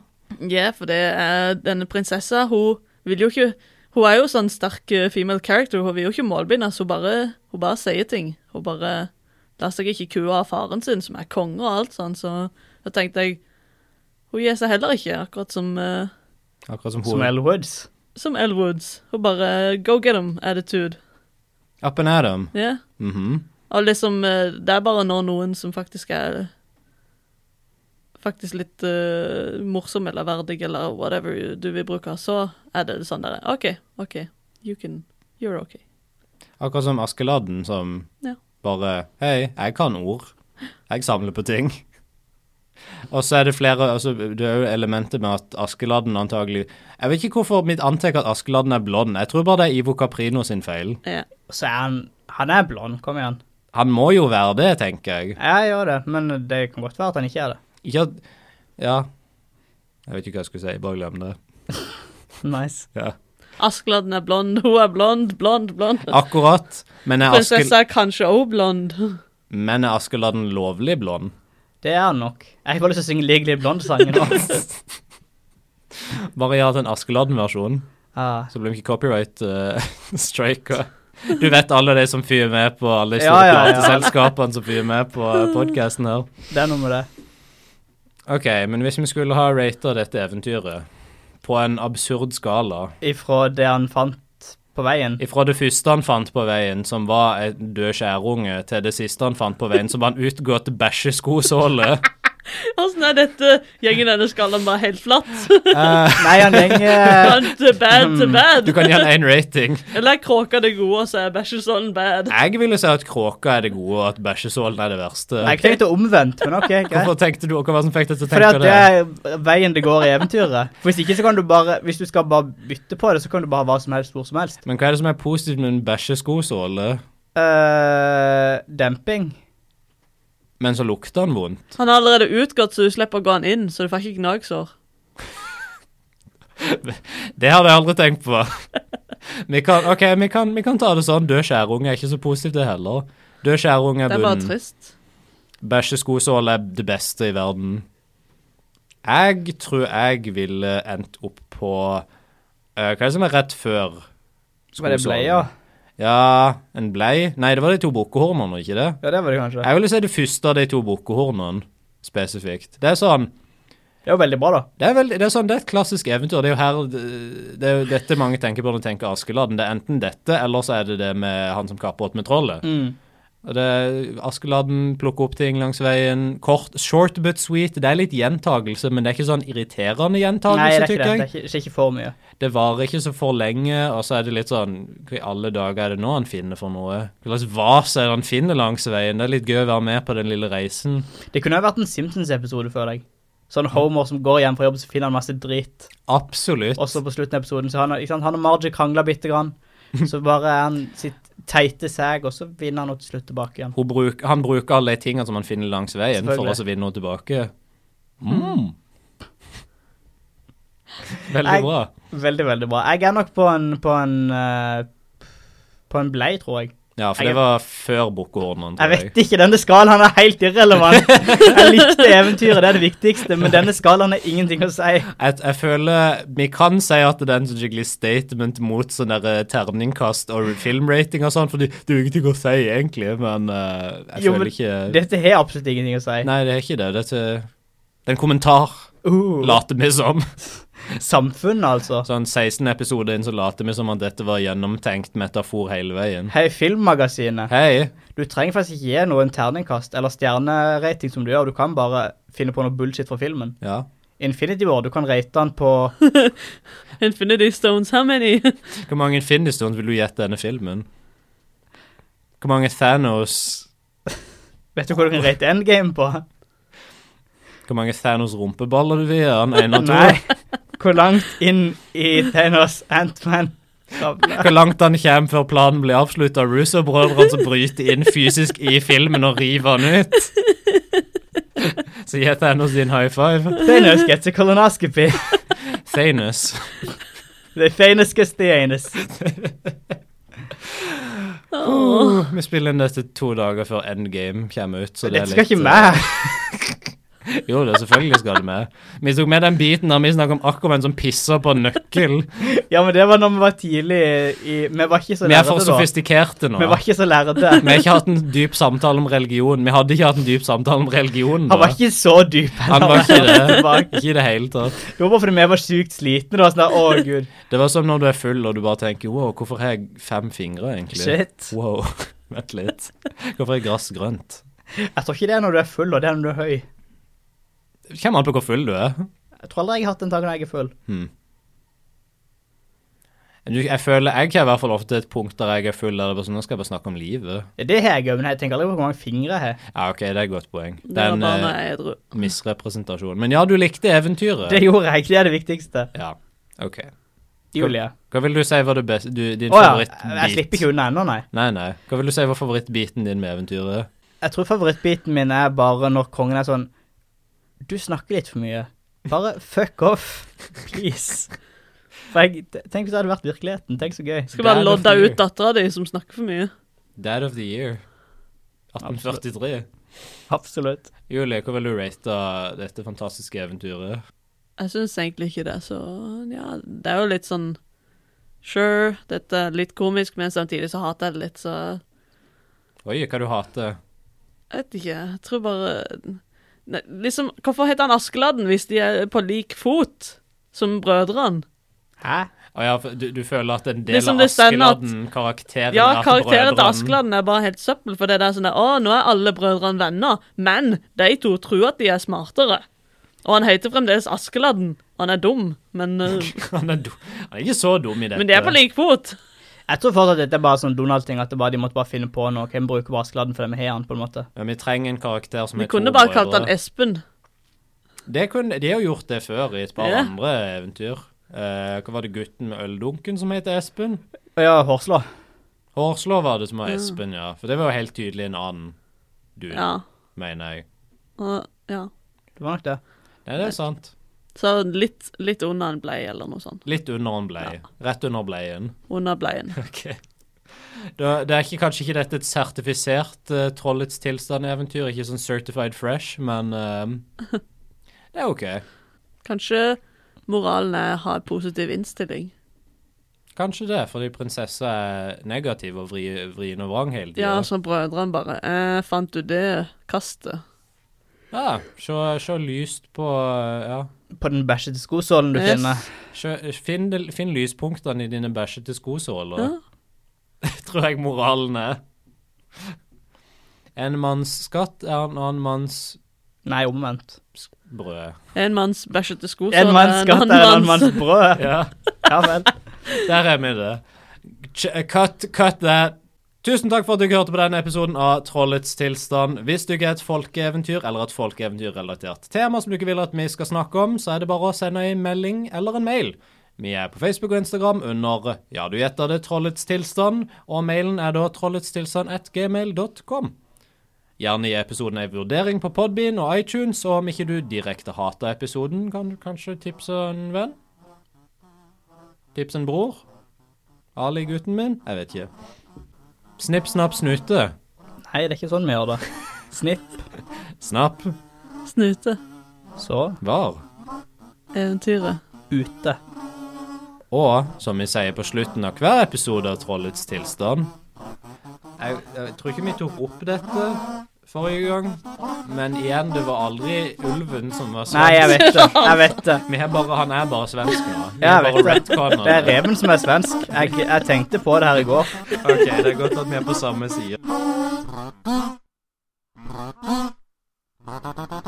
Ja, for det er denne prinsessa, hun vil jo ikke Hun er jo sånn sterk eh, female character, hun vil jo ikke målbindes, hun bare, hun bare sier ting. Hun bare lar seg ikke kue av faren sin, som er konge og alt sånn, så da tenkte jeg Hun gir seg heller ikke, akkurat som eh, Akkurat som Som hun. Elwoods. som Elle Woods. Hun bare go get them attitude. Up and Adam. Ja. Mhm. Og liksom, eh, det er bare når noen som faktisk er Faktisk litt eh, morsom eller verdig eller whatever du vil bruke, så er det sånn der OK, OK, you can You're OK. Akkurat som Askeladden, som Ja. bare Hei, jeg kan ord. Jeg samler på ting. Og så er det flere altså, Det er jo elementet med at Askeladden antagelig Jeg vet ikke hvorfor mitt antrekk at Askeladden er blond. Jeg tror bare det er Ivo Caprino sin feil. Ja. Så er han Han er blond, kom igjen. Han må jo være det, tenker jeg. Jeg gjør det, men det kan godt være at han ikke er det. Ikke at Ja. Jeg vet ikke hva jeg skulle si. Bare glem det. Nice. Ja. Askeladden er blond, hun er blond, blond, blond. Akkurat. Men er, Askel, Prinsessa er kanskje òg blond. men er Askeladden lovlig blond? Det er han nok. Jeg får lyst til å synge Legally Blonde-sangen nå. Bare gjør til en Askeladden-versjon, Ah. så blir vi ikke copyright-striker. du vet alle de som fyrer med på alle de Ja, store ja, ja. plateselskapene som fyrer med på podkasten her. det er noe med det. OK, men hvis vi skulle ha rata dette eventyret på en absurd skala Ifra det han fant på veien. Ifra det første han fant på veien, som var en død skjærunge, til det siste han fant på veien, som var en utgått bæsjeskosåle. Åssen er dette gjengen denne skalaen bare helt flatt? Eh, Nei, han gjenger Bad to bad to bad. Mm. du kan gi han én rating. Eller er kråka det gode, og så er bæsjesålen bad. Jeg ville si at kråka er det gode, og at bæsjesålen er det verste. Jeg tenkte omvendt, men OK, greit. Hvorfor tenkte du, og hva var det som fikk deg til å Fordi tenke at det det? er veien det går i eventyret. Hvis ikke så kan du bare Hvis du skal bare bytte på det, så kan du bare ha hva som helst hvor som helst. Men hva er det som er positivt med en bæsjeskosåle, Eh, demping. men så lukter den vondt? Han er allerede utgått, så du slipper å gå han inn, så du får ikke gnagsår. Det hadde jeg aldri tenkt på. Vi kan, ok, vi kan, vi kan ta det sånn. Død skjærunge er ikke så positivt, det heller. Død skjærunge er Det er bare bunnen. trist. Bæsjeskosåle er det beste i verden. Jeg tror jeg ville endt opp på eh, Hva er det som er rett før Var det bleia? Ja, en blei? Nei, det var de to bukkehornene, ikke det? Ja, det var det kanskje. Jeg ville si det første av de to bukkehornene spesifikt. Det er sånn Det var veldig bra, da. det er, veldig, det er sånn, det er et klassisk eventyr. Det er jo her det det er jo dette mange tenker på når de tenker Askeladden. Det er enten dette, eller så er det det med han som kapper opp med trollet. Mm. Og det er Askeladden plukker opp ting langs veien. Kort, short but sweet. Det er litt gjentagelse, men det er ikke sånn irriterende Nei, det gjentagelse, er ikke det. tykker Det jeg. er ikke, det er ikke for mye. Det varer ikke så for lenge, og så er det litt sånn Hva i alle dager er det nå han finner for noe? Hva slags vas er det han finner langs veien? Det er litt gøy å være med på den lille reisen. Det kunne jo vært en Simpsons-episode, føler jeg. Sånn Homer som går hjem fra jobb, så finner han masse drit. Absolutt. Og så på slutten av episoden, så han, ikke sant, han og Marge krangler bitte grann. Så bare er han sitt teite seg, og så vinner han nå til slutt tilbake igjen. Hun bruk, han bruker alle de tingene som han finner langs veien, for Selvfølgelig. Hmm. å så vinne henne tilbake. Mm. Veldig Jeg- bra. Veldig, veldig bra. Jeg er nok på en På en, eh, på en blei, tror jeg. Ja, for jeg- det var før bukkehornene, Jeg tror jeg. vet ikke, denne skalaen er helt irrelevant. Jeg likte eventyret, det er det viktigste, men denne skalaen har ingenting å si. Jeg, jeg føler Vi kan si at det er en sånn skikkelig statement mot sånn der terningkast og filmrating og sånn, for det det er jo ingenting å si egentlig, men eh, jeg Jo, føler men ikke Dette har absolutt ingenting å si. Nei, det er ikke det. Det er, til, det er en kommentar, Uh, later vi som. samfunnet, altså. Sånn 16 episoder inn så later vi som at dette var gjennomtenkt metafor hele veien. Hei, Filmmagasinet. Hei! Du trenger faktisk ikke gi noen terningkast eller stjernerating som du gjør. Du kan bare finne på noe bullshit fra filmen. Ja. Infinity War, du kan rate den på Infinity Stones, how many? Hvor mange Infinity-stones vil du gjette denne filmen? Hvor mange Thanos Vet du hva du kan rate Endgame på? Hvor mange Thanos-rumpeballer du vil gi han? En og to? Nei. Hvor langt inn i Thanos Ant-Man Skravle. Hvor langt han kommer før planen blir avslutta av Russo-brødrene som bryter inn fysisk i filmen og river han ut. Så gi Thanos din high five. Thanos gets a colonoscopy. Thanos. The Thanos gets the anus. Åh. Vi spiller inn dette to dager før Endgame kommer ut. Så det Dette er skal litt, ikke med. eh, Jo, det selvfølgelig skal det med. Vi tok med den biten der vi snakket om Aquaman som pisser på en nøkkel. Ja, men det var når vi var tidlig i Vi var ikke så Vi er for lærde da. sofistikerte nå. Vi var ikke så lærde. Vi har ikke hatt en dyp samtale om religion. Vi hadde ikke hatt en dyp samtale om religion. Han da. var ikke så dyp. Han var ikke det. Bak. Ikke i det hele tatt. Det var bare fordi vi var sykt slitne. da, sånn der, Å, gud. Det var som når du er full og du bare tenker wow, hvorfor har jeg fem fingre egentlig? Shit. Wow, vent litt. Hvorfor er gress grønt? Jeg tror ikke det er når du er full, og det er når du er høy. Kommer an på hvor full du er. Jeg tror aldri jeg har hatt en dag når jeg er full. Du, jeg føler jeg har i hvert fall ofte et punkt der jeg er full der det er bare sånn, nå skal jeg bare snakke om livet. Det har jeg òg, men jeg tenker aldri på hvor mange fingre jeg har. Ja, ok, det er et godt poeng. Det Det er var en bare når eh, jeg er edru. misrepresentasjon. Men ja, du likte eventyret. Det gjorde jeg, det er det viktigste. Ja, ok. Julie. Hva vil du si var det beste, du, din Å ja, favorittbit? jeg slipper ikke unna ennå, nei. Nei, nei. Hva vil du si var favorittbiten din med eventyret? Jeg tror favorittbiten min er bare når kongen er sånn Du snakker litt for mye. Bare fuck off, please. For jeg, tenk hvis det hadde vært virkeligheten. Tenk så gøy. Skal bare Dad of lodde the year. ut dattera di som snakker for mye. Dad of the year. 1843. Absolutt. Julie, hva vil du rate dette fantastiske eventyret? Jeg syns egentlig ikke det, så ja, det er jo litt sånn Sure, dette er litt komisk, men samtidig så hater jeg det litt, så Oi, hva du hater. Jeg vet ikke. Jeg tror bare Nei, liksom, Hvorfor heter han Askeladden hvis de er på lik fot som brødrene? Hæ? Å ja, for du, du føler at en del Liksom av det stender at- Askeladden, karakteren Ja, er at karakteren til brødrene- Askeladden er bare helt søppel, for det der sånn der, Å, nå er alle brødrene venner, men de to tror at de er smartere. Og han heter fremdeles Askeladden. Han er dum, men, eh, Han er, dum. han er ikke så dum i dette. men de er på lik fot. Jeg tror fortsatt at dette er bare sånn Donald-ting, at det bare, de måtte bare finne på noe. Hvem bruker bare Askeladden fordi vi har han, på en måte. Men vi trenger en karakter som Vi er to kunne bare kalt han brødre. Espen. Det kunne, de har jo gjort det før i et par Ja. andre eventyr. Eh, hva var det gutten med øldunken som het Espen? Å ja, Hårslå. Hårslå var det som var Espen, ja. For det var jo helt tydelig en annen dude, Ja. mener jeg. Og, ja. Det var nok det. Nei, det er sant. Så litt, litt under en bleie eller noe sånt. Litt under en bleie. Rett under bleien. Under bleien. Ok. Da, det er ikke, kanskje ikke dette et sertifisert eh, Trollets tilstand-eventyr, ikke sånn certified fresh, men eh, det er ok. Kanskje moralen er ha en positiv innstilling. Kanskje det, fordi prinsesse er negativ og vri, vrien og vrang hele Ja, tida. som brødrene bare eh, Fant du det kastet? Ja, se, se lyst på eh, Ja. På den bæsjete skosålen du Yes. finner. Se, finn, det- finn lyspunktene i dine bæsjete skosåler. Ja. Tror jeg moralen er. En manns skatt er en annen manns Nei, omvendt. brød. En manns bæsjete sko, så En manns er det skatt er en annen manns brød. Ja. Ja vel. Der er vi det. Ch- eh, Cut, cut that. Tusen takk for at du hørte på denne episoden av Trollets tilstand. Hvis du ikke er et folkeeventyr eller et folkeeventyrrelatert tema som du ikke vil at vi skal snakke om, så er det bare å sende en melding eller en mail. Vi er på Facebook og Instagram under ja, du gjetter det, Trollets tilstand, og mailen er da trolletstilstand.gmail.com. Gjerne gi episoden en vurdering på Podbean og iTunes, og om ikke du direkte hater episoden, kan du kanskje tipse en venn? Tips en bror? Ali, gutten min? Jeg vet ikke. Snipp, snapp, snute. Nei, det er ikke sånn vi gjør det. Snipp, Snapp, Snute. så var. Eventyret. ute. Og, som vi sier på slutten av hver episode av Trollets tilstand jeg, jeg tror ikke vi tok opp dette forrige gang, men igjen, det var aldri ulven som var svensk. Nei, jeg vet det. Jeg vet det. Vi har bare, han er bare svensk nå. Vi Ja, har jeg bare vet retconner Det er reven som er svensk. Jeg, jeg tenkte på det her i går. Ok, det er godt at vi er på samme side. Thank you.